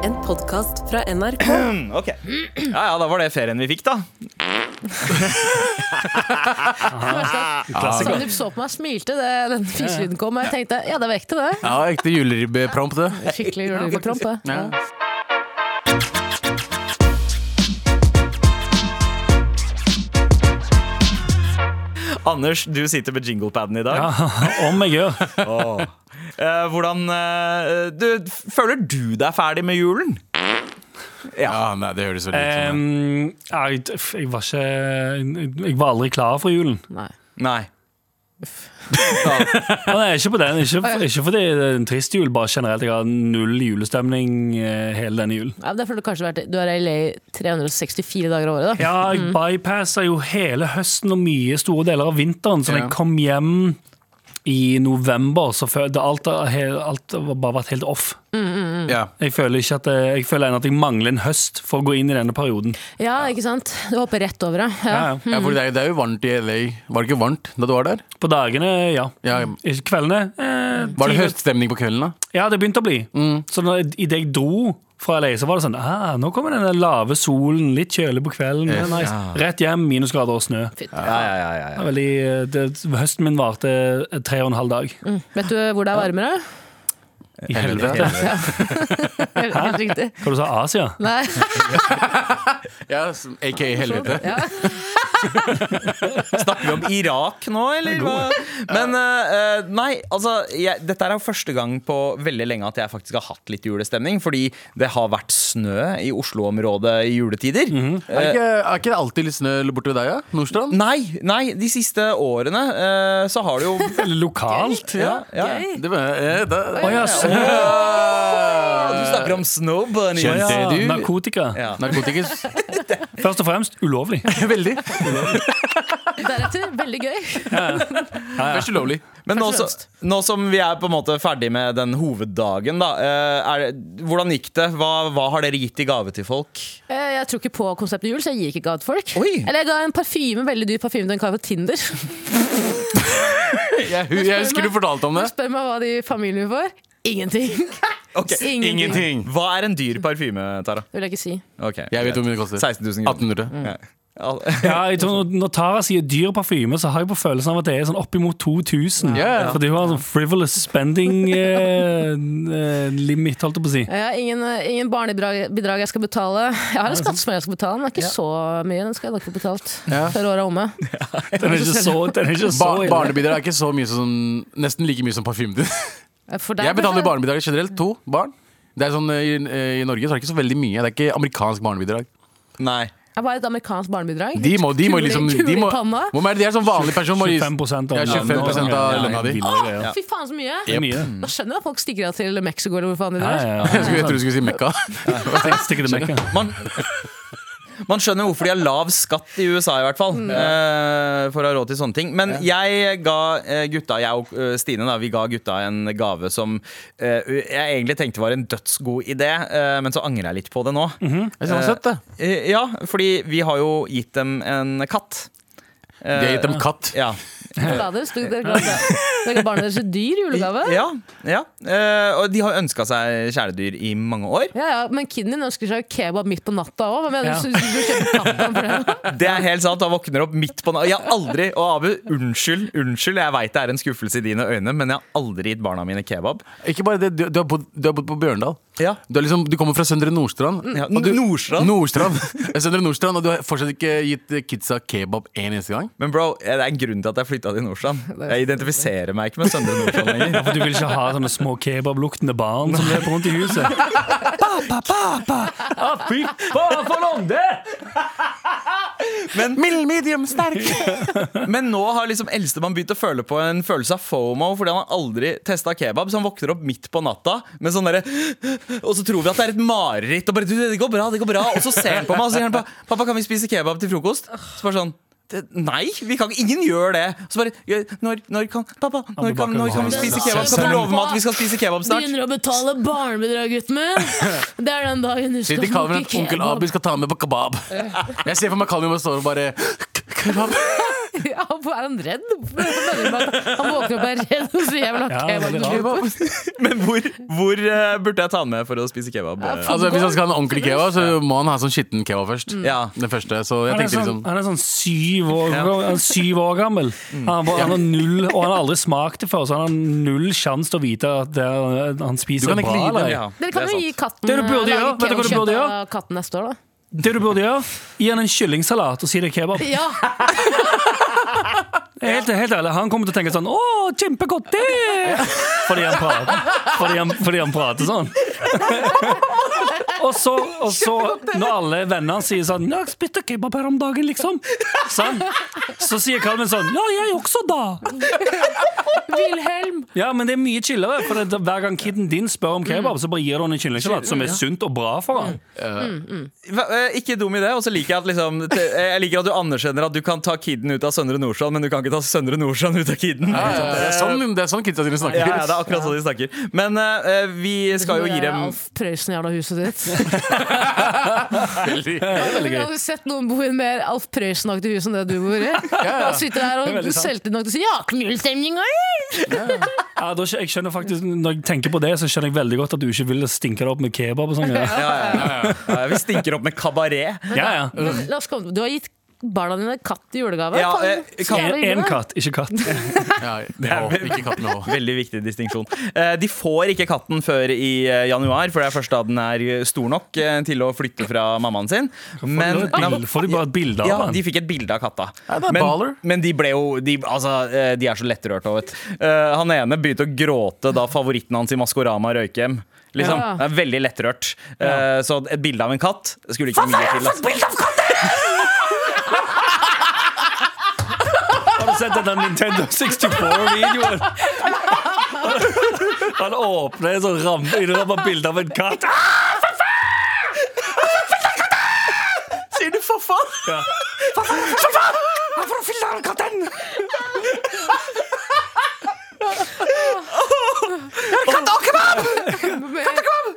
podkast fra NRK. Ok. Ja ja, da var det ferien vi fikk, da. Sandeep Ah. så på meg og smilte det, den fiselyden kom, og jeg tenkte ja, det var ekte, det. Ja, ekte juleribbepromp, det. Skikkelig julepromp, det. Ja. Anders, du sitter med jinglepaden i dag. Om jeg gjør. Eh, hvordan eh, du, Føler du deg ferdig med julen? Ja, nei, det høres veldig ut som Ehm, det. Em, jeg, jeg var ikke Jeg var aldri klar for julen. Nei. Nei. Ja, Nei, ikke på den. Ikke, ikke fordi det er en trist jul, bare generelt. Jeg har null julestemning eh, hele denne julen. Ja, men det er fordi du kanskje har vært Du er i LA 364 dager av året, da. Ja, jeg bypassa jo hele høsten og mye store deler av vinteren, så da Ja. jeg kom hjem i november, så følte alt, har he- alt har bare vært helt off. Ja. Jeg føler, ikke at, eh, jeg jeg føler ennå at jeg mangler en høst for å gå inn i denne perioden. Ja, ikke sant? Du hopper rett over det. Ja. Ja, ja. ja, for det er, det er jo varmt i LA. Var det ikke varmt da du var der? På dagene, ja. Ja, I Kveldene var eh, det tidlig- høststemning på kvelden, da? Ja, det begynte å bli. Mm. Så når, i det jeg dro fra LA, så var det sånn ah, Nå kommer den der lave solen, litt kjølig på kvelden. det er Ja. nice. Rett hjem, minusgrader og snø. Fy- Ja, ja, ja, ja, Det er Veldig, det, høsten min varte tre og en halv dag. Mm. mm. Vet du hvor det er varmere? I helvete. Helt helt riktig. Hva du sa Asia? Nei. Ja, som- aka helvete. Ja. Snakker vi om Irak nå, eller? Hva? Men eh, eh, nei, altså jeg, Dette er jo første gang på veldig lenge at jeg faktisk har hatt litt julestemning. Fordi det har vært snø i Oslo-området i juletider. Er det ikke, er ikke det alltid litt snø borte ved deg, ja? Nordstrand? Nei, nei, de siste årene eh, så har det jo Veldig lokalt. ja, ja. Det var, eh, da, Å ja, snø. Du snakker om snow bunny. Å ja, Kjente du- narkotika. Ja. Narkotikus. Først og fremst ulovlig. Veldig. Deretter, veldig gøy. Først ulovlig. Men nå, Først og så, nå som vi er på en måte ferdig med den hoveddagen, da, eh, er, det- hvordan gikk det? Hva, hva har dere gitt i gave til folk? Eh, Jeg tror ikke på konseptet jul, så jeg gir ikke gave til folk. Oi. Eller jeg ga en parfyme, veldig dyr parfyme til en kar på Tinder. Jeg, hu- jeg husker du fortalte om det. Spør meg hva de i familien min får. Ingenting. Ok, Ingenting. Ingenting. Hva er en dyr parfyme, Tara? Det vil jeg ikke si. Ok, Jeg vet greit. hvor mye det koster. 16 000 kroner. 1800. Ja. Al- Ja, jeg tror Når Tara sier dyr parfyme, så har jeg på følelsen av at det er sånn oppimot 2000. Ja, ja. Fordi hun har sånn frivolous spending eh, eh, limit, holdt jeg på å si. Jeg har ingen, ingen barnebidrag jeg skal betale. Jeg har en skatt som jeg skal betale, men det er ikke så mye. Den skal jeg nok få betalt Ja. før året er omme. Den er ikke så, den er ikke så Ba ille. barnebidrag er ikke så mye som Nesten like mye som parfymen din. For deg, Jeg betaler kanskje? barnebidrag generelt. To barn. Det er sånn, eh, i, eh, I Norge så er det ikke så veldig mye. Det er ikke amerikansk barnebidrag. Nei. Jeg var et amerikansk barnebidrag. De må, de Kul må i- liksom kul de i må, panna. må være, de er sånn vanlig person. Må, 25 av Ja, 25% av Ja, lønna di. Ah! ville greier. Fy faen, så mye! Det er mye. Da skjønner jeg at folk stikker av til Mexico eller hvor faen de Ja, drar. ja, jeg skulle- jeg ja. trodde du skulle si Mekka. Stikker det mekka. Man, man skjønner hvorfor de har lav skatt i USA, i hvert fall. Mm. eh, for å ha råd til sånne ting. Men jeg ga eh, gutta, jeg og eh, Stine, da, vi ga gutta en gave som eh, jeg egentlig tenkte var en dødsgod idé, eh, men så angrer jeg litt på det nå. Jeg synes det var søtt, det. Eh, ja, fordi vi har jo gitt dem en katt. De Eh, har gitt dem katt. ja. Forlader, så Dere ga dere ga barna deres et dyr i julegave? ja, ja. Eh, og de har ønska seg kjæledyr i mange år. Ja, ja, Men kiden din ønsker seg kebab midt på natta òg. Hva mener Ja. du? du? Du kjøper katten for det? Det er helt sant, Han våkner opp midt på natta. Jeg har aldri, og Abu, unnskyld, unnskyld, jeg veit det er en skuffelse i dine øyne, men jeg har aldri gitt barna mine kebab. Ikke bare det, du, du, har bodd, du har bodd på Bjørndal. Ja. Du, er liksom, du kommer fra Søndre Nordstrand. Ja, Mm. og du, Nordstrand? Nordstrand. Søndre Nordstrand, og du har fortsatt ikke gitt eh, kidsa kebab en eneste gang. Men bro, det er en grunn til at jeg flytta til Nordstrand. Jeg identifiserer meg ikke med Søndre Nordstrand lenger. Ja, for du vil ikke ha sånne små kebabluktende barn som løper rundt i huset. Papa, papa. Ah, fy faen, for londe! Mild, medium, sterk! Men nå har liksom eldstemann begynt å føle på en følelse av fomo fordi han har aldri testa kebab. Så han våkner opp midt på natta med sånn derre Og så tror vi at det er et mareritt. Og bare du, det går bra, det går bra. Og så ser han på meg og så sier han bare Pappa, kan vi spise kebab til frokost? Så bare sånn «Det- Nei, vi kan, ikke- ingen gjør det. Så bare «Ja, når, når kan Pappa, når kan, når kan vi spise kebab? Kan du love meg at vi skal spise kebab snart? Begynner å betale barnebidrag, gutten min! Det er den dagen du skal Sitter Calvin at onkel kebab. Abi skal ta med på kebab. Jeg ser for meg Calvin bare står og bare Kebab! Ja, hvorfor er han redd? Hvorfor mener du med at Han våkner opp og er redd, og så jeg vil ha Ja, kebab. veldig rart. Kebab. Men hvor, hvor eh, burde jeg ta den med for å spise kebab? Ja, faen. Altså, hvis han skal ha en ordentlig kebab, så må han ha sånn skitten kebab først. Ja. Den første, så jeg Han er, tenkte sånn, liksom han er sånn syv år, Ja. han er syv år gammel. Mm. Han, var, han har null, og han har aldri smakt det før, så han har null sjanse til å vite at det, er- han spiser Du kan bra. ikke gi Eller? den, Ja, Dere kan det jo er sant. gi katten Det du burde eh, gjøre, lage vet du hva du kebabkjøtt burde gjøre? av katten neste år, da. Det du burde gjøre, gi han en kyllingsalat og si det er kebab. Ja, Helt, helt ærlig, Han kommer til å tenke sånn 'Å, kjempegodt det!' Fordi han prater, fordi han, fordi han prater sånn. og, så, og så, når alle vennene hans sier sånn 'Jeg spiste kebab her om dagen', liksom. Sånn. Så sier Calvin sånn 'Ja, jeg også, da'. Wilhelm! Ja, Men det er mye chillere, for det, hver gang kiden din spør om kebab, så bare gir du han en kyllingsalat som er sunt og bra for han. Hva- eh, Ikke dum idé. Og så liker jeg at liksom te- eh, Jeg liker at du anerkjenner at du kan ta kiden ut av Søndre Nordstrand, men du kan ikke ta Søndre Nordstrand ut av kiden. Ja, ja, ja, Det er sånn, det er sånn kidsa dine snakker. Ja, ja, det er akkurat sånn de snakker. Men eh, vi skal jo gi dem Alf Prøysen jævla huset ditt. Veldig. Jeg hadde sett noen bo i en mer Alf Prøysen-aktig hus enn det du bor i. Han sitter her Det er og veldig sant. selvtillit nok til å si 'ja, knullstemninga'. Ja, da, skj- jeg skjønner faktisk, Når jeg tenker på det, så skjønner jeg veldig godt at du ikke vil stinke deg opp med kebab. og sånn greier. ja, ja, ja, ja. Vi stinker opp med kabaret. Ja, ja. Men la oss komme Du har gitt barna dine katt i julegave. Ja, Faen, eh, så kan- jævla En, en hyggelig. katt, ikke katt. Ja, med H, ikke katt med H. Veldig viktig distinksjon. Eh, De får ikke katten før i eh, januar, for det er først da den er eh, stor nok eh, til å flytte fra mammaen sin. Men Bil- Får de bare et bilde ja, av han? de fikk et bilde av katta. Ja, det er baller. men de ble jo De, altså, eh, de er så lettrørte. og Vet. du. Eh, han ene begynte å gråte da favoritten hans i Maskorama røyk hjem. Liksom. Ja. Det er veldig lettrørt. Eh, så et bilde av en katt skulle ikke mye til. Altså. Har du sett denne Nintendo 64-videoen? Han åpner en sånn ramme i det var bilde av en katt. Ah, Sier du for faen? Ja. Hvorfor fyller han katten?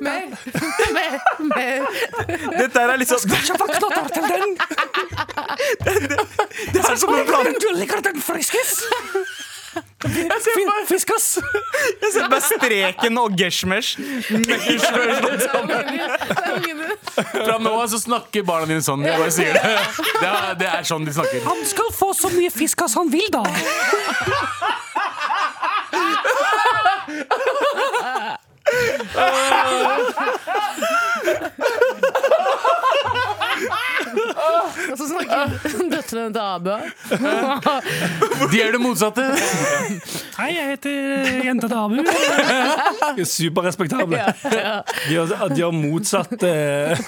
Mer, mer, mer, mer. Dette her er liksom Ikke bare knotter til den! Det er som en plan Du liker den friskis! Fiskas! Jeg ser bare streken og geshmesh. Det er ungen din. Det er ungen din. Fra nå av så snakker barna dine sånn. Jeg bare sier det. Det er, det er sånn de snakker. Han skal få så mye fiskas han vil, da. Og så snakker døtrene til Abu. De gjør det motsatte. Hei, jeg heter Jenta til Abu. De er superrespektable. De har, at de har motsatt eh,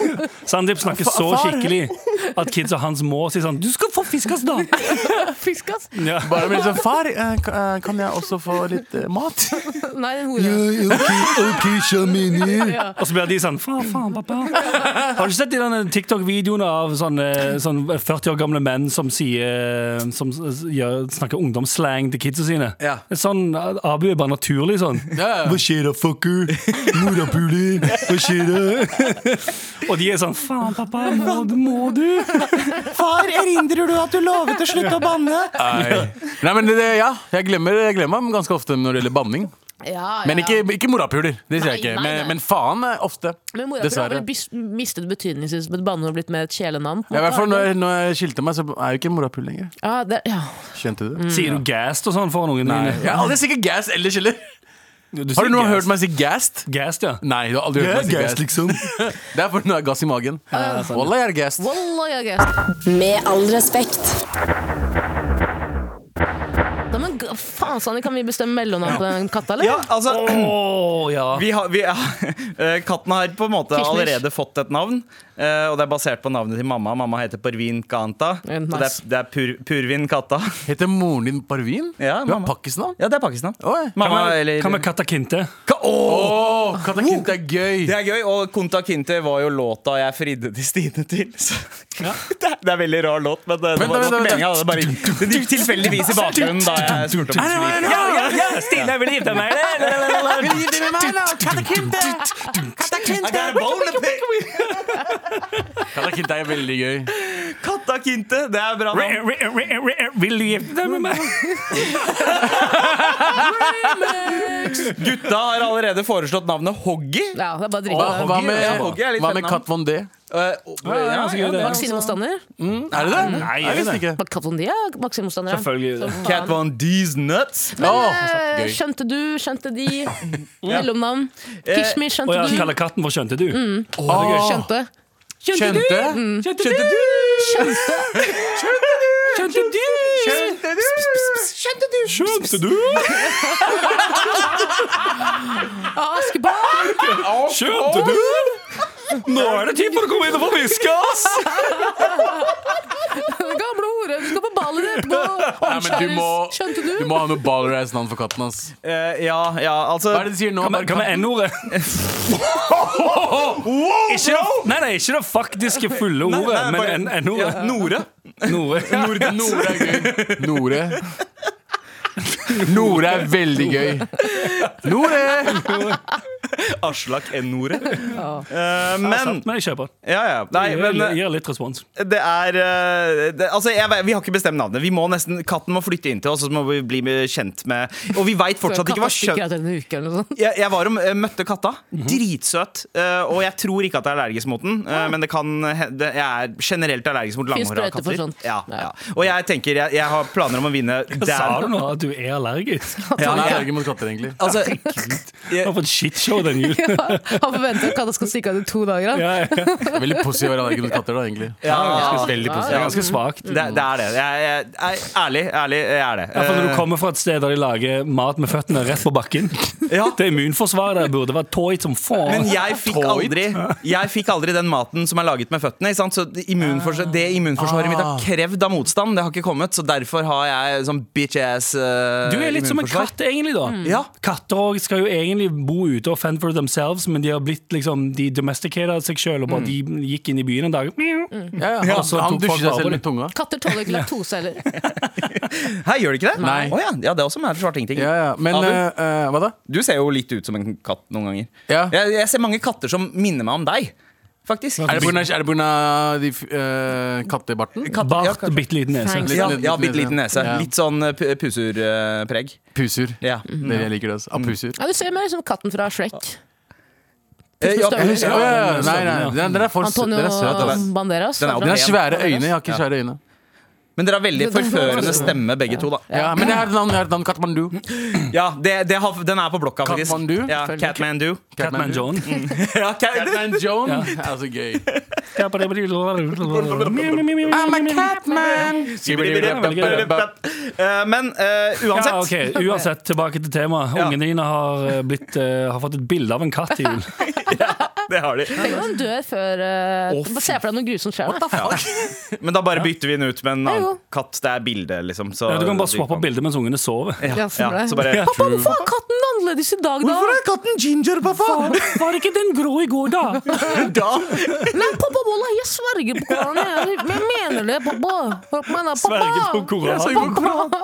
Sandeep snakker så skikkelig at kidsa hans må si sånn Du skal få fiskas, da! Fiskas? Ja. Bare blir sånn Far, eh, ka- eh, kan jeg også få litt eh, mat? Nei, en hore. Ja. Og så blir de sånn Faen, faen, pappa. Har du ikke sett de derne TikTok-videoene av sånne, sånne 40 år gamle menn som, sier, som s- gjør, snakker ungdomsslang til kidsa sine? Ja. Det er Sånn, Abu er bare naturlig sånn. Ja, Hva skjer da, fucker? Morapuler, hva skjer da? Og de er sånn Faen, pappa, må, du- må du? Far, erindrer du at du lovet å slutte å banne? Nei. Nei, men det, ja, jeg glemmer, jeg glemmer dem ganske ofte når det gjelder banning. Ja, ja, Men ikke, ja. ikke morapuler. Det sier jeg Eh, Nei, nei, ikke. Men, nei. men faen eh, ofte. Men mora har Dessverre. vel bis- mistet betydning synes, med et banneord og blitt mer et kjælenavn? på en Ja, I hvert fall måte. når, jeg- når jeg skilte meg, så er jo ikke morapul lenger. Ja, det, ja. Skjønte du det? Mm. Sier du gast og sånn foran ungene Nei. dine? Jeg har aldri sikkert gassed ellers heller. Du Har du sier noen gang gassed. hørt meg si gassed? Gassed, ja. Nei, du har aldri hørt meg si gassed. liksom. Det er fordi du har gass i magen. Wallah, jeg er gassed. Wallah, jeg er gæren. Med all respekt. Da, men g- faen, Sanne, kan vi bestemme mellomnavn på den katta, eller? Ja, altså Åh, ja. vi har, vi, ja, eh, Katten har på en måte Kishmish. allerede fått et navn. eh, Og det er basert på navnet til mamma. Mamma heter Parvin Kanta. Eh, Så det er, nice. det er pur, Purvin Katta. Heter moren din Parvin? Ja, du har mamma. pakkisnavn? Ja, det er Pakistan. Oi. Mamma, Hva med- eller Hva med Katta Kinte? Ka- Åh! Åh, katakint er gøy! Det er gøy, og Konta Kinte var jo låta jeg fridde til Stine til. Så. Det, er, det er veldig rar låt, men det, det Vent, var vent, nok vent. meninga. Det, bare gikk- det gikk tilfeldigvis i bakgrunnen da jeg spurte om Stine. Ja, ja, ja, Stine, vil du gifte deg med meg? I got a bone to pick. Katakint er veldig gøy. Katta Ja, Kinte. Det er bra navn. Vil du gifte deg med meg? Gutta har allerede foreslått navnet Hoggy. Ja, det er bare Hva, dritt. hva Ja, med, Hoggy er litt hva fett med navn. Kat Von D? Eh, ja, ganske gøy, det. ja. Vaksinemotstander? Er det det? Nei, jeg er det visste ikke. Kat Von D er vaksinemotstander. ja. Selvfølgelig. Som faen. Cat Von D's Nuts. Å, Eh, gøy. Skjønte du, skjønte de. Mellomnavn. Kishmi, Å skjønte ja, du. kaller katten for skjønte du? Skjønte. Kjente? Skjønte du? Skjønte du? Skjønte du? Skjønte du? Ah, Askebarn! Skjønte du? Nå er det tid for å komme inn og få hviske, ass! Det gamle ordet. Du skal på ballet ditt. Gå. Nei, men du må, Omskjæres. Skjønte du? du må ha noe baller-ass-navn for katten hans. Eh, ja, ja, altså Hva er det de sier nå? Kan vi- Kan vi n-ordet? Ikke det- Nei, nei, ikke det faktiske fulle ordet, bare- men n- Ja, n-ordet. Nore. Nore. Nore er gøy. Nore. Nore er veldig gøy. Nore! Aslak N-ordet. Eh, men Sant, Men jeg kjøper Ja, ja. Nei, den. men Jeg eh, gir litt respons. det er eh, det, Altså, jeg, vet- vi har ikke bestemt navnet. Vi må nesten, Katten må flytte inn til oss, og så må vi bli kjent med Og vi veit fortsatt ikke hva skjønt Katta stikker ut en uke eller noe sånt. jeg, jeg var og eh, møtte katta. Mhm. Dritsøt. Eh, og jeg tror ikke at jeg er allergisk mot den, eh, Ah. men det kan he- det, jeg er generelt allergisk mot Finns langhåra sprøyter for katter. sånt. Ja, Ja. ja. Og jeg tenker, jeg, jeg har planer om å vinne Hva sa du nå? At du er allergisk? Ja, han er ja. allergisk mot katter, egentlig. Altså, Du har fått shitshow den julen. Ja, Han forventer at katta skal stikke av i to dager. da. Ja, ja. Veldig positiv å være allergisk mot katter, da, egentlig. ja, det, Veldig Det er positiv. ganske svakt. det er det. Jeg, jeg, jeg, ærlig, ærlig, jeg er det. Iallfall når du Eh, kommer fra et sted der de lager mat med føttene rett på bakken. Ja. Det immunforsvaret der burde vært toit som Men faen. jeg fikk, aldri, jeg fikk aldri den maten som er laget med føttene. Ikke sant? Så det Ah. immunforsvaret, det immunforsvaret mitt har krevd av motstand, det har ikke kommet. Så derfor har jeg sånn bitch ass eh, Du er litt som en immunforsvar. katt, egentlig. da Ja. Katter også skal jo egentlig bo ute og fend for themselves, men de har blitt liksom De domesticated seg sjøl og bare de gikk inn i byen en dag. Miau. Ja, ja. Ja, Han, så han tok folk dusjer seg over selv med tunga. Katter tåler ikke laktose heller. Hei, gjør det ikke det? Nei. Å ja. ja, det er også mer svarting-ting. Ja, ja. Men Abu? eh, eh, hva da? Du ser jo litt ut som en katt noen ganger. Ja. Jeg, jeg ser mange katter som minner meg om deg, faktisk. Er det pga. Er det på grunn av de, eh, kattebarten? Katter- ja, Bart, kanskje. bitte liten nese. Thanks. ja, Litt- ja, litt bitte liten nese. Ja. Litt sånn eh, pu- pusurpreg. Pusur. Ja. Det jeg liker det også. Ah, pusur. Ja, du ser mer ut som katten fra Shrek. Eh, ja, Jeg husker- Ja, ja, ja. Nei, nei, Ja. den, den er for søt. Antonio Den er søt. ass. Banderas. Den er Den opp- har svære øyne. Jeg har ikke Ja. svære øyne. Men dere har veldig forførende stemme, begge to. da Ja, men jeg har et navn. Jeg har et navn Katmandu. Ja, det, det har, Den er på blokka, faktisk. Kathmandu? Ja, Catmandu. Catman John. Ja, Cat- Catman Joan. Det er så altså, gøy. Miau, miau, miau, miau. I'm a catman. Eh, Men eh, uansett. Ja, ok, Uansett, tilbake til temaet. Ja. Ungene dine har, eh, blitt, eh, har fått et bilde av en katt i jul. Det har de. Tenk om den dør før eh, Å, Bare Se for deg noe grusomt skjer. da. Men da bare bytter vi den ut med en Jo, annen jo. katt. Det er bilde, liksom. Så Ja, du kan de bare swappe bildet mens ungene sover. Ja, Ja, stemmer ja, det. så bare Pappa, hvorfor er katten annerledes i dag, da? katten ginger, pappa? Var ikke den grå i går, da? Nei, pappa, wallah, jeg sverger på Koranen. Jeg, jeg mener det, pappa. Hør på meg, da. Pappa! Sverger på Koranen.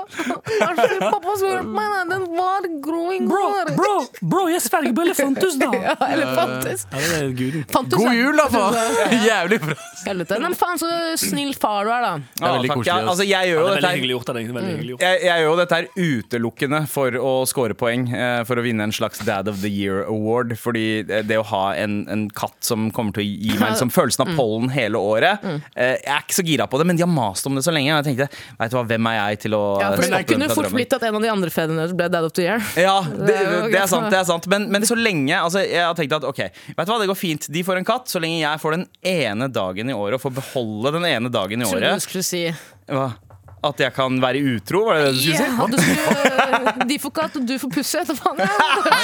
Pappa, Vær så snill, pappa sverger på meg, da. Den var grå i går. bro, bro, jeg sverger på elefantus, da. Ja, eller Fantus. Ja, det er guden. Fantus God ja. jul, da, faen. Jævlig bra. Helvete. Nei, men faen, så snill far du er, da. Det er veldig koselig, ass. Altså, jeg gjør jo Ja, det er dette her veldig hyggelig gjort av deg. Veldig hyggelig gjort. jeg, jeg gjør jo dette her utelukkende for å score poeng, eh, for å vinne en slags Dad of the Year Award. Fordi eh, det å ha en, en katt som kommer til å gi meg liksom, følelsen av Mm. pollen hele året eh, Jeg er ikke så gira på det, men de har mast om det så lenge. Og jeg tenkte, vet du hva, hvem er jeg til å Ja, for det stoppe den kunne fra fort drømmen? blitt at en av de andre fedrene ble dad of the year. Ja, det, er jo det er greit. sant. det er sant Men, men så lenge altså, Jeg har tenkt at ok, vet du hva, det går fint. De får en katt så lenge jeg får den ene dagen i året og får beholde den ene dagen i Trodde du året. skulle si Hva? At jeg kan være utro, var det det du skulle si? Ja, du skulle, De får katt, og du får pusse. Hva faen er det? Det er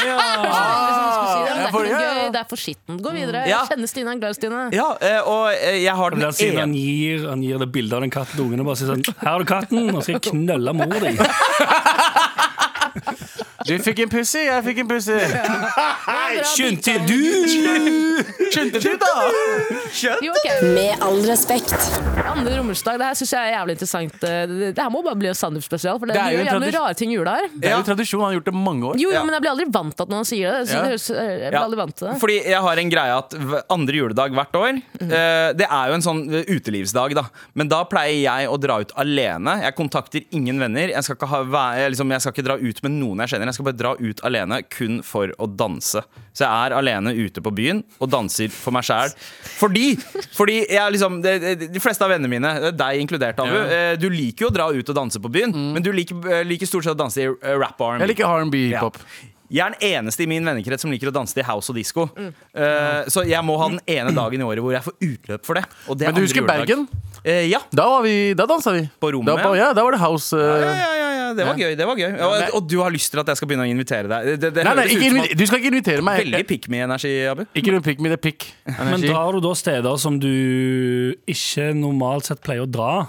liksom, Ja, ikke for- noe ja, ja. gøy, det er for skittent. Gå videre. Ja. Jeg kjenner Stine, jeg er glad i Stine. Ja, eh, og eh, jeg har den Men der sier ene han gir, han gir det bildet av den katten til ungene og bare sier sånn Her har du katten, nå skal jeg knølle mor di. Du fikk en pussy, jeg fikk en pussy. Bra Skjønte bidrag. du? Skjønte du, da? Jo, ok. Med all respekt. Andre romersdag, det her synes jeg er jævlig interessant. Eh, Det det her må bare bli en standup-spesial, for det, Det er jo gjør en jævlig tradis- rare ting i jula her. Det er jo tradisjon, han har gjort det mange år. Jo, jo, Ja. men jeg blir aldri vant til at noen sier det. Så Ja. det høres, eh, jeg blir Ja. aldri vant til det. Mhm. Fordi jeg har en greie at v- andre juledag hvert år eh, Det er jo en sånn eh, utelivsdag da Men da pleier jeg å dra ut alene Jeg kontakter ingen venner Jeg skal ikke, ha, væ- jeg liksom, jeg skal ikke dra ut med noen jeg kjenner Jeg skal bare dra ut alene kun for å danse Så jeg er alene ute på byen Og danser for meg selv Fordi, fordi jeg liksom De, de- de fleste av vennene mine, eh, deg inkludert Abu Ja. eh, Du liker jo å dra ut og danse på byen Mm. Men du liker, eh, liker stort sett å danse i eh, rap og R&B Jeg liker R&B hiphop. jeg er den eneste i min vennekrets som liker å danse til house og disko. Eh, så jeg må ha den ene dagen i året hvor jeg får utløp for det. Og det er Men du andre husker juledag. Bergen? Eh, ja. Da, var vi, da dansa vi. På rommet, da, på, ja. Da var det house. eh, Ja, ja, ja, ja, det var gøy. det var gøy og, og du har lyst til at jeg skal begynne å invitere deg? Det, det, det Nei, nei, høres ikke, ut som invi- du skal ikke invitere meg. at- veldig pick me-energi, Abu. Ikke noe pikk, men det er pikk. Men Energi. drar du da steder som du ikke normalt sett pleier å dra?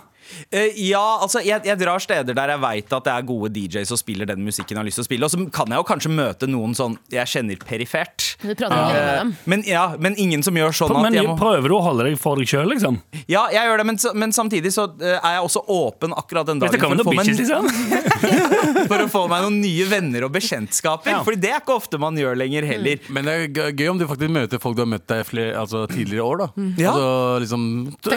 Eh, ja, altså, jeg, jeg drar steder der jeg veit at det er gode DJs som spiller den musikken jeg har lyst til å spille. Og så kan jeg jo kanskje møte noen sånn jeg kjenner perifert. Du prater ikke med dem. Men, ja, men ingen som gjør sånn at Men jeg må prøver du å holde deg for deg sjøl, liksom? Ja, jeg gjør det, men, så- men samtidig så eh, er jeg også åpen akkurat den dagen Dette kommer for å, noen få meg, bitches, liksom. for å få meg noen nye venner og bekjentskaper. Ja. Fordi det er ikke ofte man gjør lenger heller. Men det er gøy- gøy om du faktisk møter folk du har møtt deg flere, altså, tidligere år. da Ja. altså, liksom,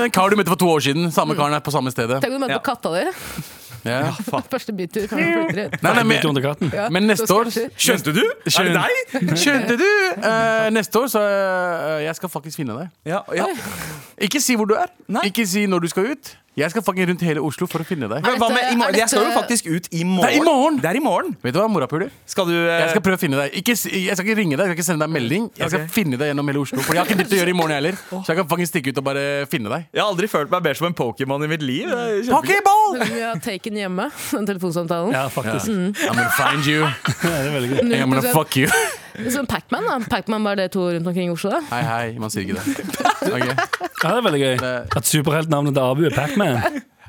En kar du møtte for to år siden, Mm. samme karen er på samme stedet. Tenk om du møter Ja. på katta di. Ja. Første bytur. kanskje du flytter ut. Nei, nei, Bitte men, under katten. men neste Så år sketchy. Skjønte du? Er det deg? Skjønte du? Eh, neste år så eh, Jeg skal faktisk finne deg. Ja, ja. Ikke si hvor du er. Nei. Ikke si når du skal ut. Jeg skal fucking rundt hele Oslo for å finne Men deg. Hva med i Er morgen? dette- Jeg skal jo faktisk ut i morgen. Det er i morgen! Det er i morgen. Vet du hva, morapuler? Skal du eh, Jeg skal prøve å finne deg. Ikke, si- jeg skal ikke ringe deg, jeg skal ikke sende deg melding. Jeg skal Ok. finne deg gjennom hele Oslo. For jeg har ikke dritt å gjøre i morgen heller. Så jeg kan fucking stikke ut og bare finne deg. Jeg har aldri følt meg bedre som en Pokémon i mitt liv. Det er kjempe- Pokéball! Vi har taken hjemme, den telefonsamtalen. Ja, faktisk. I'm gonna find you. Det er veldig gøy. and I'm gonna fuck you. Som Pacman, da. Pacman var det to rundt omkring i Oslo. Da. Hei, hei. Man sier ikke det. Ok. Ja, det er veldig gøy. Det- At superheltnavnet til Abu er Pacman.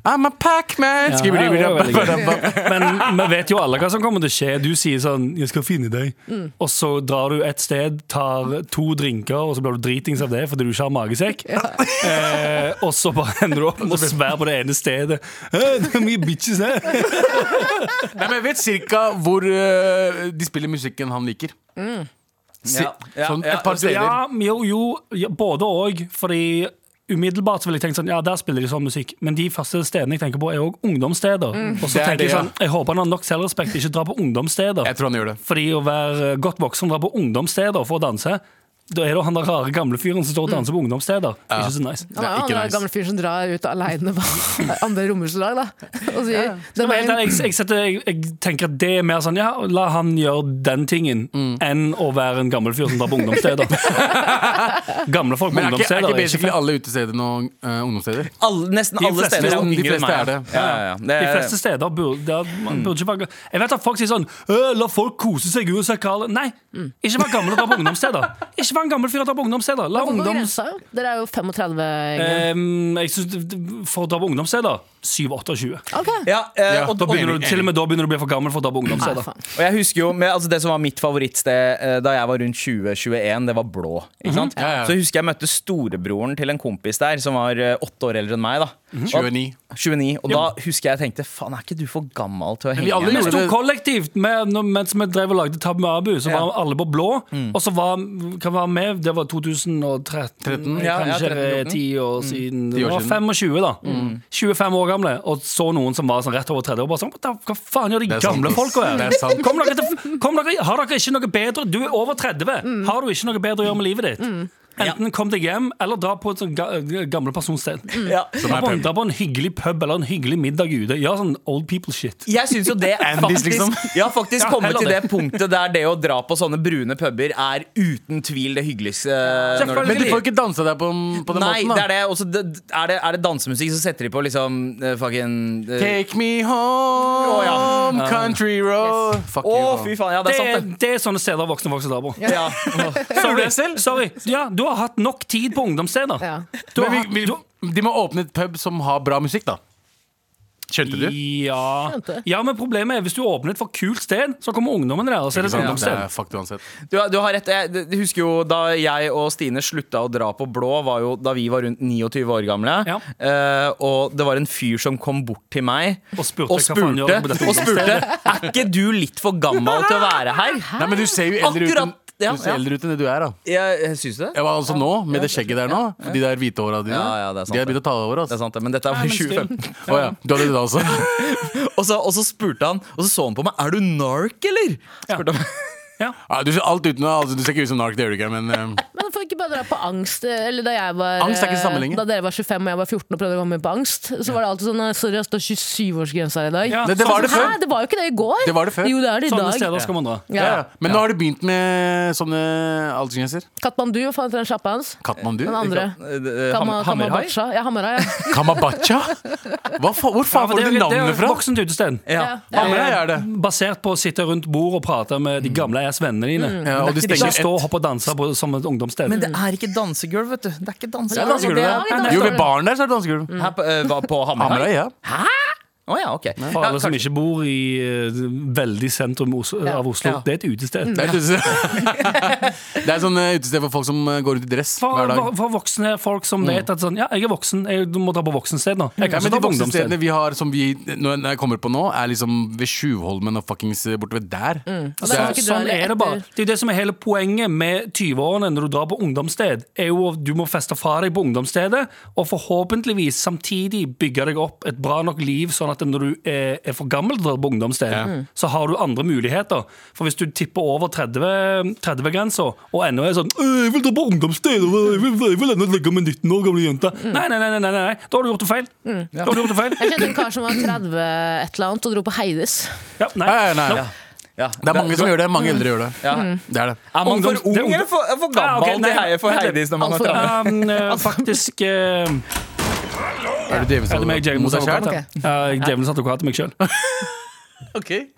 I'm a Pac-Man! Ja, det er veldig gøy. Skibidi-bidi-bidi-bidi. Men vi vet jo alle hva som kommer til å skje. Du sier sånn 'jeg skal finne deg', og så drar du et sted, tar to drinker, og så blir du dritings av det fordi du ikke har magesekk. Eh, og så bare ender du opp med å svære på det ene stedet. «Eh, Det er mye bitches her! Nei, men jeg vet cirka hvor øh, de spiller musikken han liker. Si- Ja, ja, sånn ja. et par steder. Ja, jo, jo ja, både og. Fordi umiddelbart så ville jeg tenkt sånn, ja, der spiller de sånn musikk. Men de første stedene jeg tenker på, er òg ungdomssteder. Og Mm. Det så er tenker det, jeg ja. sånn, jeg håper han har nok selvrespekt til ikke å dra på ungdomssteder. Jeg tror han gjør det. Fordi å være eh, godt voksen og dra på ungdomssteder for å danse da er det jo han der rare gamle fyren Mm. som står og danser på ungdomssteder. Ikke så nice. Det Han er er jo ikke han nice. gamle fyren som drar ut aleine på andre romersdag, da. Og sier den Men helt veien ærlig, jeg, jeg, setter, jeg, jeg tenker at det er mer sånn Ja, la han gjøre den tingen Mm. enn å være en gammel fyr som drar på ungdomssteder. gamle folk på Men er ikke, er ungdomssteder ikke er ikke basically alle utesteder nå øh, ungdomssteder? Alle, nesten De alle fleste- steder de yngre enn fleste meg. er det. Ja, ja, ja. Det De er- fleste steder burde, der, man burde ikke være Jeg vet at folk sier sånn «Øh, La folk kose seg uansett hva alle-» Nei, ikke vær gammel og dra på ungdomssteder. Ikke vær en gammel fyr og dra på ungdomssteder. La Hvor går ungdoms... grensa? Dere er jo 35. Eh, gjengen. Ehm, jeg synes, det- det- for å dra på ungdomssteder 27-28. Ok. ja, eh, Ja, og, da og, begynner Begynner du- Til og med da begynner du å bli for gammel for å dra på Nei, ungdomssteder. Ah, faen. Og jeg husker jo, men, altså Det som var mitt favorittsted eh, da jeg var rundt 2021, det var blå. Ikke sant? Mhm. Ja, ja. Så jeg husker jeg møtte storebroren til en kompis der, som var eh, åtte år eldre enn meg. da Og- 29. 29, Og da husker jeg jeg tenkte faen, er ikke du for gammel til å henge vi alle med?» Vi gjorde sto det- kollektivt med, når- mens vi drev og lagde Tab med Abu. Så var Ja. alle på blå. Mm. Og så var hva var vi? Det var 2013. Ja, ja, kanskje 13. ti år siden. Mm. Ti Det år var siden. Mm. 25, da. 25 år gamle. Og så noen som var sånn rett over 30 år. Bare sånn, "Hva da- Hva faen gjør de Det er sant, gamle ass. folka her? Det er sant. Kom dere til, kom dere, har dere ikke noe bedre Du er over 30. Har du ikke noe bedre å gjøre med livet ditt? Enten kom deg hjem, eller dra på et sånt ga- gamle personsted. Ja. Dra på, en- dra på en hyggelig pub eller en hyggelig middag ute. Gjør sånn old people shit. Jeg synes jo det Andes, faktisk, liksom. Jeg har faktisk Ja, kommet heller til det. det punktet der det å dra på sånne brune puber er uten tvil det hyggeligste. eh, når Selvfølgelig. Men du får ikke dansa deg på, på den Nei, måten, det da. er det. Og så det- er, det, er det dansemusikk, så setter de på liksom eh, fucking eh, Take me home, Å, country road. Fuck Å, you. fy faen. Ja, det Det er er, sant, det er sånne steder voksne folk som drar på. det. Ja. Sorry. Sorry. Ja, du har hatt nok tid på ungdomssteder. Ja. Du har Men hatt- vi, vi, de må åpne et pub som har bra musikk, da. Skjønte du? Ja. Skjønte. ja, men problemet er hvis du åpner et for kult sted, så kommer ungdommen der. Og så Ikke er det et sant? Det ungdomssted. er sånn fucked uansett. Du, du har rett, jeg du husker jo Da jeg og Stine slutta å dra på blå, var jo da vi var rundt 29 år gamle. Ja. Eh, og det var en fyr som kom bort til meg Og spurte, og "Hva faen gjør spurte, du på dette og spurte Er ikke du litt for gammel til å være her? Nei, men du ser jo eldre ut enn Akkurat, ja, du ser ja. eldre ut enn det du er, da. Jeg, jeg syns det. Ja, men altså nå, med det skjegget der nå, de der hvite håra dine, Ja, ja, det er sant, de har begynt å ta over. Det Altså. er sant, det, men dette var i 2015. Å ja, du hadde det da også? Og så, og så spurte han, og så så han på meg, er du nark, eller? Spurte han. Ja, du, ser alt uten, altså, du ser ikke ut som nark, det gjør du ikke, men eh, Men får ikke bare dra på angst eh, Eller da jeg var Angst er ikke eh, sammenlignet. Da dere var 25 og jeg var 14 og prøvde å komme med på angst, så var det alltid sånn eh, Sorry, ass, det er 27-årsgrense her i dag. Ja, det, det var det Hæ, før. det var jo ikke det i går! Det var det før. Jo, det er det i Sånne dag. steder skal man dra. Ja. Ja, ja. Men nå har du begynt med sånne aldersgrenser. Katmandu, hva faen heter den sjappa hans? Katmandu? Den andre. Eh, ham- Kama, Hammerhai? Kamabacha. Ja, Hammerhai. Ja. Kamabacha? Hva fa hvor faen får det, du er- det det er navnet et fra? voksent utested. Ja. Ja. Ja, men jeg er det. Basert på å sitte rundt bord og prate med de gamle ass vennene dine. Mm. Ja, og de Ikke stenger stå og hoppe og danse på, som et ungdomssted. Mm. Men det er ikke dansegulv, vet du. Det er ikke altså, Ja, dansegulv. dansegulvet. Ja, det er Jo, ved baren der så er det dansegulv. Mm. Her på, eh, hva, på Hammerhai? Hamarøy, ja. Å ja, ok. For Ja, alle som ikke bor i eh, veldig sentrum Os- av Oslo. Ja. Mm. Det er et utested. Det er et utested. Det er et sånn eh, utested for folk som eh, går ut i dress For, hver dag. Mm. for, for voksne folk som vet at sånn, ja, jeg er voksen, jeg må dra på voksensted nå. Ja, Jeg kan men ikke de dra på voksne ungdomssted. stedene vi har som vi når jeg kommer på nå, er liksom ved Tjuvholmen og fuckings eh, borte ved der. Og Det der kan du er- ikke dra Sånn ned er det bare. etter. Det er jo det som er hele poenget med 20-årene når du drar på ungdomssted, er jo at du må feste fra deg på ungdomsstedet, og forhåpentligvis samtidig bygge deg opp et bra nok liv, sånn at når du er, er for gammel til å dra på ungdomssted, Mm. så har du andre muligheter. For hvis du tipper over 30 30-grensa, og ennå er sånn «Øh, 'Jeg vil dra på ungdomssted, og jeg vil, jeg vil ennå ligge med 19 år gamle jenter'. Mm. Nei, nei, nei, nei, nei, nei, da har du gjort det feil. Da har du gjort det feil. Jeg kjente en kar som var 30 et eller annet og dro på Heides. Ja, nei. Nei, nei, nei. ja. Det er mange som gjør Mm. det. Mange eldre gjør det. Det er det. Er man Ungdoms- for ung det er ung- eller Ah, for, for Ja, gammel ok, nei, til hei- for vent litt. Heidis når man Alt for er 30? Um, eh, faktisk eh, Er det Er det meg, djevelens djevelens advokat? advokat? selv? ja. Ja, jeg er Djevelens advokat til meg sjøl.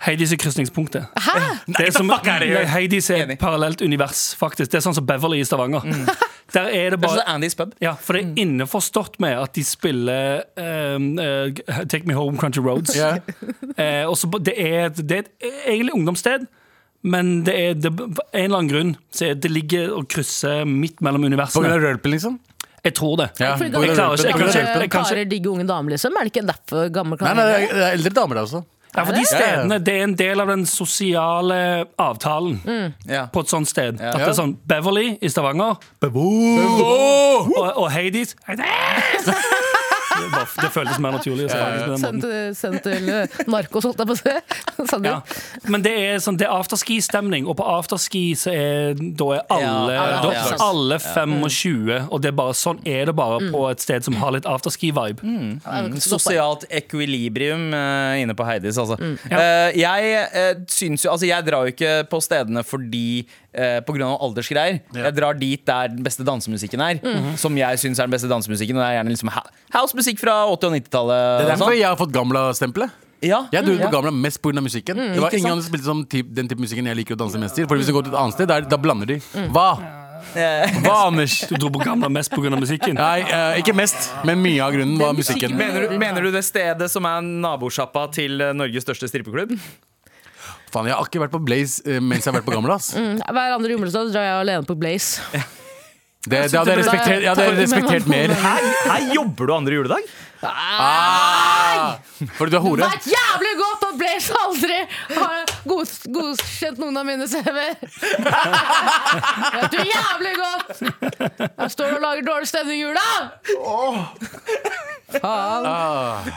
Heidis er krysningspunktet. Hæ? Det er som, nei, Heidis er Enig. et parallelt univers, faktisk. Det er sånn som Beverly i Stavanger. Mm. Der er det Kanskje bare det er Andys pub? ja, For det er innforstått med at de spiller ehm, eh, Take Me Home, Country Roads. Ja. Eh, og så ba- det, er, et- det er et egentlig ungdomssted, men det er det, av en eller annen grunn så er det ligger og krysser midt mellom På grunn universene. av rølpen, liksom? Jeg tror det. Ja, Fordi på grunn av Jeg klarer ikke- rølpen. jeg Gamle klarer ikke- jeg kan ikke- karer digger unge damer, liksom. Er det ikke derfor gamle Nei, karer nei, det er- det er eldre damer der også. Ja, for de Ja, ja. Mm. stedene, det er en del av den sosiale avtalen Ja. på et sånt sted. At det er sånn Beverly i Stavanger Åh! og, og Hades Hades! Det, bare, det føltes mer naturlig å si Hades sånn på den måten. Sendt, sendt til eh, narkos, holdt jeg på å si. Sandra. Ja. Men det er, sånn, det er afterski-stemning, og på afterski så er, da er alle, Ja, da, ja, Mm. ja. alle 25, og det er bare, sånn er det bare på et sted som har litt afterski-vibe. Mm. Sosialt ekvilibrium eh, inne på Heidis, altså. Mm. Eh, jeg eh, syns jo Altså, jeg drar jo ikke på stedene fordi eh, på grunn av aldersgreier. Jeg drar dit der den beste dansemusikken er. Mm. Mhm. Som jeg syns er den beste dansemusikken. Og det er gjerne liksom ha- housemusikk fra 80- og 90-tallet. Det er og derfor sånn. jeg har fått Gamla-stempelet. Ja. Jeg dro ut Ja. på Gamla mest pga. musikken. Det var ikke Ingen sant? andre som spilte sånn typ, den type musikken jeg liker å danse mest til. For hvis du går til et annet sted, der, da blander de. Hva? Eh, Hva, Anders? Du dro på gamle mest pga. musikken. Nei, eh, ikke mest, men mye av grunnen var musikken. Mener du, mener du det stedet som er nabosjappa til eh, Norges største strippeklubb? Faen, jeg har ikke vært på Blaze eh, mens jeg har vært på Gamla. ass. Mm, Hver andre juledag drar jeg alene på Blaze. Det, det hadde jeg respektert, jeg hadde respektert mer. Her, her jobber du andre juledag? Ah, fordi du er hore? Vet jævlig godt at Blaze aldri har god, godkjent noen av mine CV-er! Vet du jævlig godt! Jeg står og lager dårlig stemning i jula! Faen.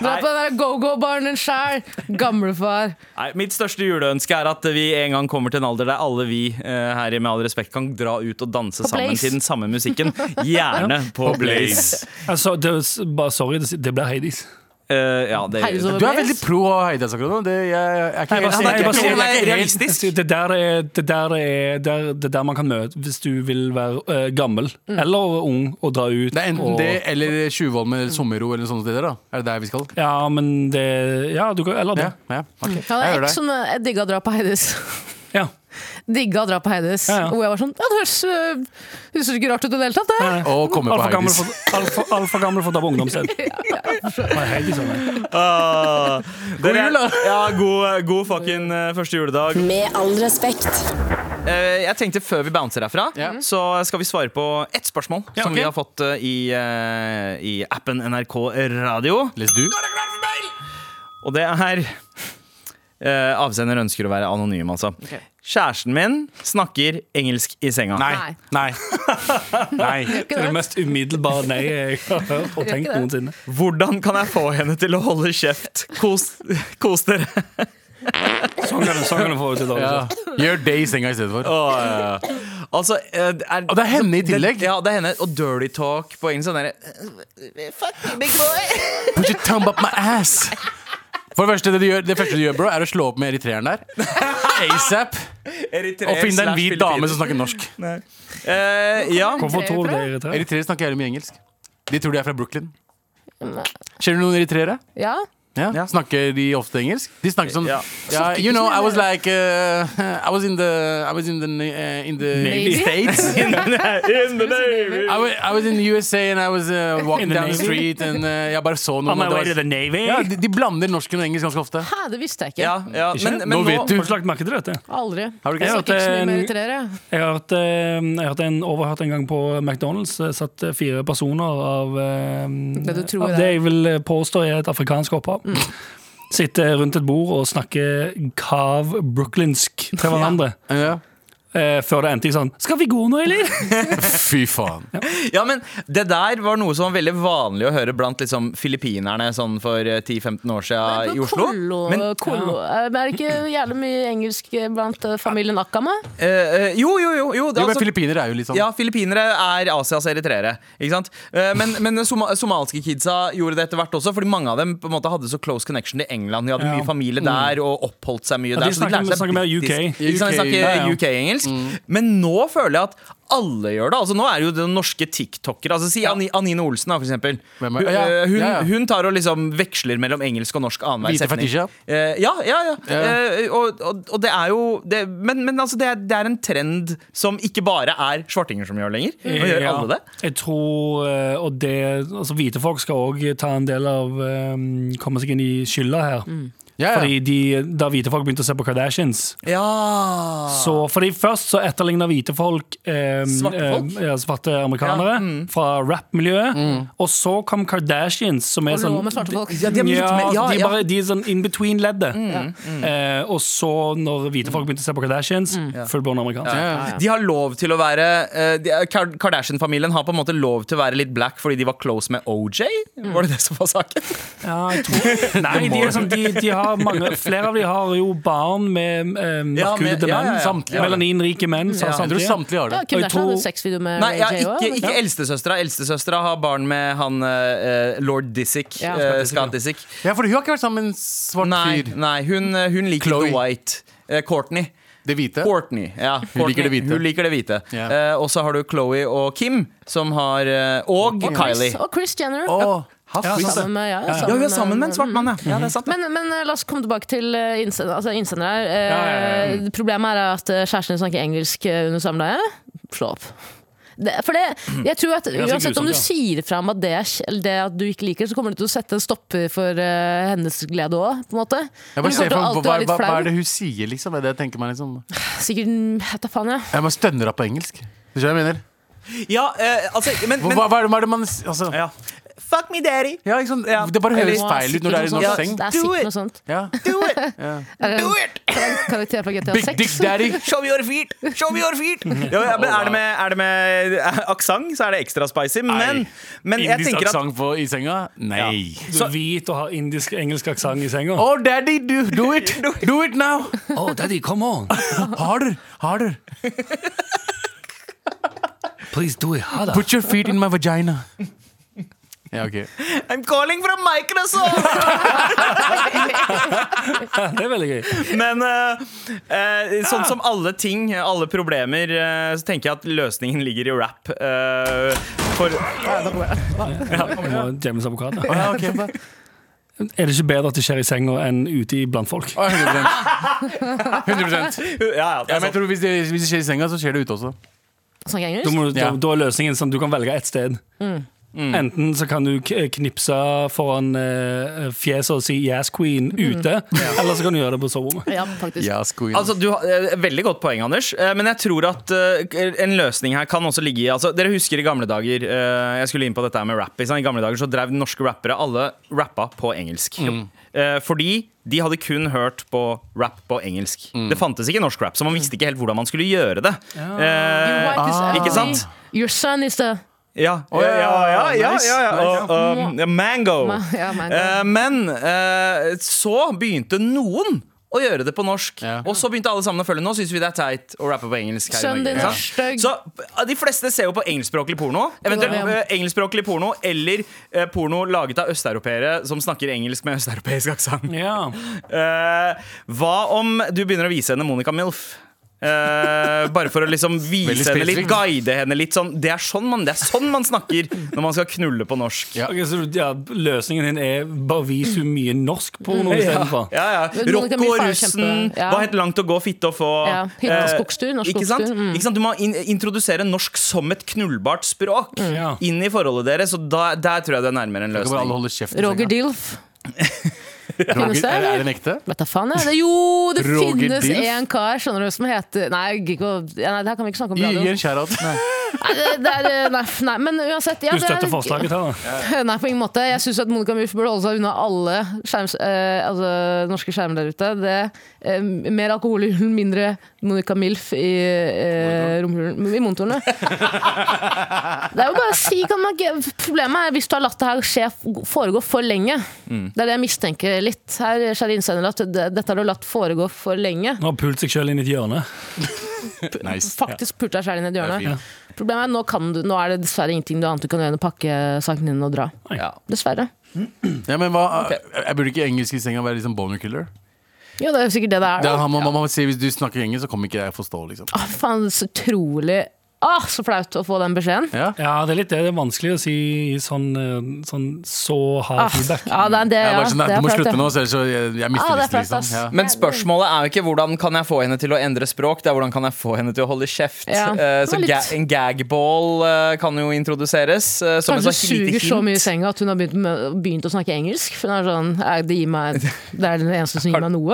Dra på den der go-go-baren din sjæl, gamlefar. Nei, Mitt største juleønske er at vi en gang kommer til en alder der alle vi eh, her i Med all respekt kan dra ut og danse sammen Blaze. til den samme musikken. Gjerne på Blaze. Altså, det, bare sorry, det, det blir Hades. Eh, ja, det Heide Du er veldig pro Heidas akkurat nå. Det, jeg, jeg er ikke, Nei, bare si- han er nei, ikke bare si- pro. han er ikke nei, realistisk. Det der er det der, er, der, det der man kan møte hvis du vil være eh, gammel eller ung og dra Mm. ut. Det er enten og, det eller Tjuvholmen eller Sommerro eller sånne steder. da Er det der vi skal? Ja, men det Ja, du kan, eller det. Ja, ja, ok. Han Jeg er sånn, gjør eks det. som eh, digga å dra på Heidis. Ja. Digga å dra på Heides. Ja, ja. Hvor jeg var sånn Ja, det høres, øh, høres ikke rart ut i det hele tatt, det. Nei. Og komme på Altfor gammel Heidis. for, alfa, alfa gammel for å ta på ungdomssted. Nei, Heidi sa det. Ah, god jul, da. Ja, god, god fucking eh, første juledag. Med all respekt. Eh, jeg tenkte Før vi bouncer herfra, Ja. så skal vi svare på ett spørsmål Ja, som ok. vi har fått eh, i, eh, i appen NRK Radio. Les du? Og det er eh, Avsender ønsker å være anonym, altså. Ok. Kjæresten min snakker engelsk i senga. Nei. Nei. Nei. Nei. Det er det mest umiddelbare nei jeg har hørt og tenkt noensinne. Hvordan kan jeg få henne til å holde kjeft? Kos, kos dere. Sånn kan du- sånn kan du få det til å Ja. være. Gjør det i senga i stedet for. Åh, ja, ja. Altså, eh, det er, Og det er henne i tillegg. Ja, det er henne. Og dirty talk på engelsk. Sånn derre eh, Fuck you, big boy. Put your thumb up my ass. For det første, det, du gjør, det første du gjør, bro, er å slå opp med eritreeren der. ASAP. Og finn deg en hvit dame som snakker norsk. Eh, ja. Hvorfor tror du det er irriterende? Eritreere snakker jævlig mye engelsk. De tror de er fra Brooklyn. Kjenner du noen eritreere? Ja. Ja. Ja. Snakker de ofte engelsk? De snakker sånn Ja. ja, You know, I was like uh, I was in the I was in the, uh, in the Navy. States. I was, I was in the USA and I was uh, walking In the down the Navy. street and uh, jeg bare så noen. On my og det way var- to the Navy. ja, de, de blander norsken og engelsk ganske ofte. Hæ, det visste jeg ikke. ja, ja. Ikke? Men, men Nå nå, vet du. Har du ikke lagt merke til dette? Aldri. Har du ikke Jeg hørt snakker ikke så mye en- med eritreere. Jeg har hørt, eh, jeg har hørt en overhørt en gang på McDonald's. eh, Satt eh, fire personer av eh, Det du tror av det er. det jeg vil eh, påstå er et afrikansk opphav. Sitter rundt et bord og snakker kav brooklynsk til hverandre. Ja. eh, Før det endte i sånn Skal vi gå nå, eller? Fy faen. ja, men det der var noe som var veldig vanlig å høre blant liksom, filippinerne sånn for eh, 10-15 år siden i Oslo. Kollo, Men kollo. Eh, Er det ikke jævlig mye engelsk blant eh, familien Akkama? eh, eh, jo, jo, jo. jo, det, Jo, men altså, Filippinere er jo litt sånn. ja, filippinere er Asias eritreere. Ikke sant? Eh, Men, men soma somaliske kidsa gjorde det etter hvert også, fordi mange av dem på en måte hadde så close connection til England. De hadde Ja. Mm. mye familie der og oppholdt seg mye de der. så snakker- lærte seg snakker mer britisk- UK. Ikke sant, de UK, snakker ja, Mm. ja. UK-engelsk. Men nå føler jeg at alle gjør det. altså Nå er det jo det norske tiktokere. Altså, si Ani Anine Olsen, da, for eksempel. Hvem Hun, er- ja, ja, hun, ja, ja. hun tar og liksom veksler mellom engelsk og norsk annenhver Hvite fetisja. Eh, ja, ja, ja. Ja. Eh, og, og, og det er jo det, Men, men altså, det, er, det er en trend som ikke bare er svartinger som gjør lenger. Nå gjør Ja. alle det. Jeg tror, eh, og det, altså Hvite folk skal òg ta en del av eh, Komme seg inn i skylda her. Ja, ja. Fordi de, Da hvite folk begynte å se på Kardashians Ja. Ah. så, Fordi Først så etterligna hvite folk, eh, Svarte folk? eh, ja, svarte amerikanere Ja, mm. fra rap-miljøet. Og så kom Kardashians, som er Og sånn lå med svarte folk. Ja, de er midt ja, med, ja, de, er ja. Mm. bare, de er sånn in between-leddet. Eh, og så, når hvite folk begynte å se på Kardashians, Mm. fullborn amerikansk. Ja, ja. De har lov til å være eh, de- Kar- Kardashian-familien har på en måte lov til å være litt black fordi de var close med OJ. Var det det som var saken? Ja, jeg tror Nei, de, er sånn, de, de har mange Flere av de har jo barn med eh, Ja, mørkhudede med- menn. ja, ja, ja. Samt- Melaninrike menn. sa Ja. Jeg tror samtlige. samtlige Ja, har det. Og Kim jeg Dersen hadde tror- sexvideo med Nei, ja, Ray J òg. ikke, ikke eldstesøstera. Eldstesøstera har barn med han eh, lord Disick. Ja. eh, Scott Disick. Ja, for hun har ikke vært sammen med en svart Nei, fyr. nei hun, eh, hun liker Chloe. the white. Eh, Courtney. Det hvite. Courtney, ja. Courtney. liker det hvite. Hun liker det hvite. Ja. Eh, og så har du Chloe og Kim, som har eh, Og Kylie. Og Chris Jenner. Åh, haff, Ja, visst. sant Sammen med, ja, Ja, hun er med- sammen med en svart mann, ja. ja det er sant. Men, men eh, la oss komme tilbake til eh, innsender, altså innsender her. Eh, Ja, ja, Problemet er at eh, kjæresten din snakker engelsk eh, under samleie. Slå opp. Det, for det, jeg tror at ganske Uansett om du grusomt, ja. sier fra om at det, er kj- eller det at du ikke liker det, så kommer du til å sette en stopper for eh, hennes glede òg, på en måte. Jeg bare Du kommer til ser å for meg, alltid hva, være litt hva, hva flau. er det hun sier, liksom? Det er det jeg tenker meg liksom Sikkert vet da faen, jeg. Jeg bare stønner av på engelsk. Du skjønner hva jeg mener? Ja, eh, altså, men, Hva, men hva, hva er det- hva er det man s- altså, ja. Fuck me, daddy! ja, ikke sant? Ja. Det bare høres Eller- feil ut når det er i Sikkert norsk noe seng. sånt. Det er Do sikkert it! noe sånt. Ja. Do it! Er det Do en it! karakter fra GTA Big dick 6? daddy. Show me your feet! Show me your feet! Ja, ja, men er det med, er det med eh, aksent, så er det ekstra spicy. Men, Nei. men jeg Indisk tenker at aksent på- i senga? Nei. Du er hvit og har indisk engelsk aksent i senga. Oh, daddy, do, do it! Do it now! Oh, daddy, come on! Harder! Harder! Please do it harder. Put your feet in my vagina. Ja, ok. I'm calling from Microsoft! Det er veldig gøy. Men eh, eh, sånn som alle ting, alle problemer, eh, så tenker jeg at løsningen ligger i rap. eh, for Jeg må James advokat. Å, ja, ok. Er det ikke bedre at det skjer i senga enn ute i blant folk? Å, 100 Ja, 100 ja, det ja, er men jeg sant. tror hvis det, hvis det skjer i senga, så skjer det ute også. Snakker jeg Da, engelsk? må, du- da, Ja. da er løsningen sånn du kan velge ett sted. Enten så kan du k- eh, knipse foran eh, fjeset og si 'Yes, queen' ute, eller så kan du gjøre det på soverommet. Ja, faktisk. Ja, skoin. Altså, du har, eh, Veldig godt poeng, Anders. Eh, Men jeg tror at eh, en løsning her kan også ligge i altså, Dere husker i gamle dager eh, Jeg skulle inn på dette her med rap. ikke sant? I gamle dager så drev norske rappere alle rappa på engelsk. Eh, Fordi de hadde kun hørt på rap på engelsk. Det fantes ikke norsk rap, så man visste ikke helt hvordan man skulle gjøre det. You Eh, white is ugly. Ikke sant? Your son is the Ja, ja, ja, ja, ja, Nice. ja, ja. Og, og, ja, Mango. Ma- ja, mango. Eh, men eh, så begynte noen å gjøre det på norsk. Ja. Og så begynte alle sammen å følge Nå syns vi det er teit å rappe på engelsk. her i Sønnen din Norge, er ikke sant? stygg. Så eh, de fleste ser jo på engelskspråklig porno. Eventuelt Ja. eh, engelskspråklig porno eller eh, porno laget av østeuropeere som snakker engelsk med østeuropeisk aksent. Eh, hva om du begynner å vise henne Monica Milf? Eh, bare for å liksom vise Veldig henne litt, spesifikt. guide henne litt. Sånn. Det, er sånn man, det er sånn man snakker når man skal knulle på norsk. Ja. Ok, så du- ja, løsningen din er bare vis henne mye norsk porno istedenfor. Ja, ja. Men Monica Rocco og Milf er jo russen. kjempe- ja. Hva het Langt å gå, fitte å få? Ja, hytta og Eh, skogstur, norsk ikke sant? skogstur, mm. Ikke sant? Du må in introdusere norsk som et knullbart språk Mm. Ja. inn i forholdet deres. Og da, der tror jeg du er nærmere en Da kan bare alle løsning. holde kjeft. i Roger senga. Dilf. Roger, Finnes det, er, eller? er den ekte? Vet da faen, jeg. Det, jo, det Roger finnes Dilf? en kar skjønner du, som heter Nei, jeg gidder ikke å- ja, nei, det her kan vi ikke snakke om. på Gi radio. gi en shout-out. Nei, det, det er, nei, f- nei, men uansett ja, Du det er- støtter forslaget her, da? Nei, på ingen måte. Jeg syns at Monica Milf burde holde seg unna alle skjerms, eh, altså, norske skjermer der ute. Det, eh, mer alkohol i hulen, mindre Monica Milf i eh, romhulen I motorene. det er jo bare å si kan man, ikke- Problemet er hvis du har latt det her skje foregå for lenge. Mm. Det er det jeg mistenker litt her, kjære innsender, at det, dette har du latt foregå for lenge. Nå har pult seg sjøl inn i et hjørne. Nice. Faktisk pulte deg sjæl inn i et Det er hjørne. Problemet er nå, kan du, nå er det dessverre ingenting du annet du kan gjøre enn å pakke sakene dine og dra. Ja. Dessverre. Ja, men hva, Jeg burde ikke engelsk i senga være liksom boner killer? Jo, det er jo sikkert det det er. Det da. er, han- man, man må si, hvis du snakker engelsk, så kommer ikke jeg forstå, liksom. Å, faen, så utrolig Åh, så flaut å få den beskjeden. Ja? Ja, det er litt det. Det er vanskelig å si sånn, eh, sånn så hard Ah, feedback. ja, det er det, Jeg ja. er bare sånn, det Du er må flaut, slutte det. nå, så ellers så jeg, jeg mister Ah, det er lysten. flaut, Liksom. ass. Ja. Men spørsmålet er jo ikke hvordan kan jeg få henne til å endre språk, det er hvordan kan jeg få henne til å holde kjeft. Ja, Eh, det så var litt- ga en gagball eh, kan jo introduseres. eh, som en Kanskje hun sånn suger lite så hint. mye i senga at hun har begynt, med, begynt å snakke engelsk. For hun er sånn «Nei, Det, gir meg, det er den eneste som gir meg noe.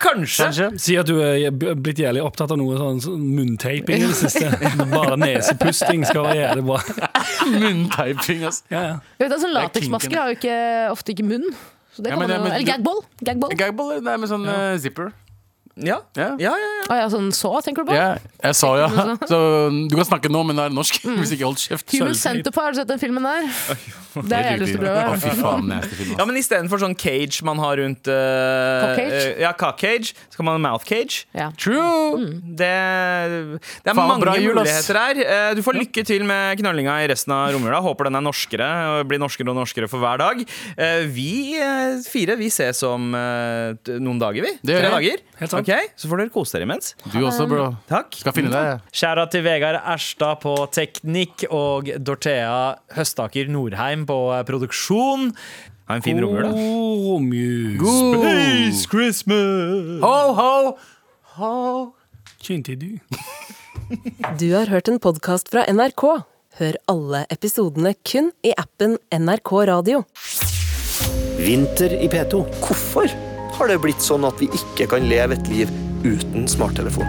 Kanskje. Si at du er blitt jævlig opptatt av noe sånn sånn munnteiping i det siste. Bare nesepusting skal være jævlig bra. Munntyping, ass. Ja, ja. Jeg vet, at sånn Det er kinken. Lateksmasker har jo ikke, ofte ikke munn. Så det Ja, kan men man det- jo, men eller du- gagball. gagball. Gagball nei, med sånn eh, zipper. Ja. Ja. Ja, ja, ja. Å ja, sånn så, tenker du på? Ja, jeg sa ja. Så um, du kan snakke nå, men det er norsk. Mm. Hvis ikke, hold kjeft. Human Sølvtape. Centipede, har du sett den filmen der? Det har jeg lyst til å Å, prøve. fy faen, nasty film. ja ass. men istedenfor sånn cage man har rundt eh, Cockcage? eh, Ja, cockcage, så kan man ha mouth cage. Ja. True! Mm. Det, det er Faen, mange bra jul, ass. muligheter her. Eh, Du får lykke til med knallinga i resten av romjula. Håper den er norskere og blir norskere og norskere for hver dag. Eh, Vi eh, fire vi ses om eh, t- noen dager, vi. Det gjør Tre vi. dager. Helt sant. Ok, så får dere kose dere imens. Du også, bro. Takk. Mm. Skal finne deg. Skjæra til Vegard Erstad på teknikk og Dorthea Høstaker Norheim på eh, produksjon. Ha en fin romjul, da. Romjus. Space Christmas! Ho, ho, ho. Kjente du? Du har hørt en podkast fra NRK. Hør alle episodene kun i appen NRK Radio. Vinter i P2. Hvorfor har det blitt sånn at vi ikke kan leve et liv uten smarttelefon?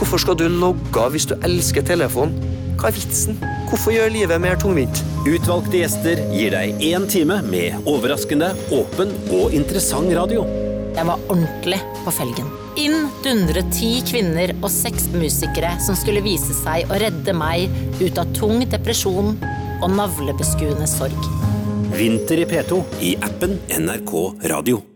Hvorfor skal du logge av hvis du elsker telefon? Hva er vitsen? Hvorfor gjør livet mer tungvint? Utvalgte gjester gir deg én time med overraskende, åpen og interessant radio. Jeg var ordentlig på felgen. Inn dundret ti kvinner og seks musikere som skulle vise seg å redde meg ut av tung depresjon og navlebeskuende sorg. Vinter i P2 i appen NRK Radio.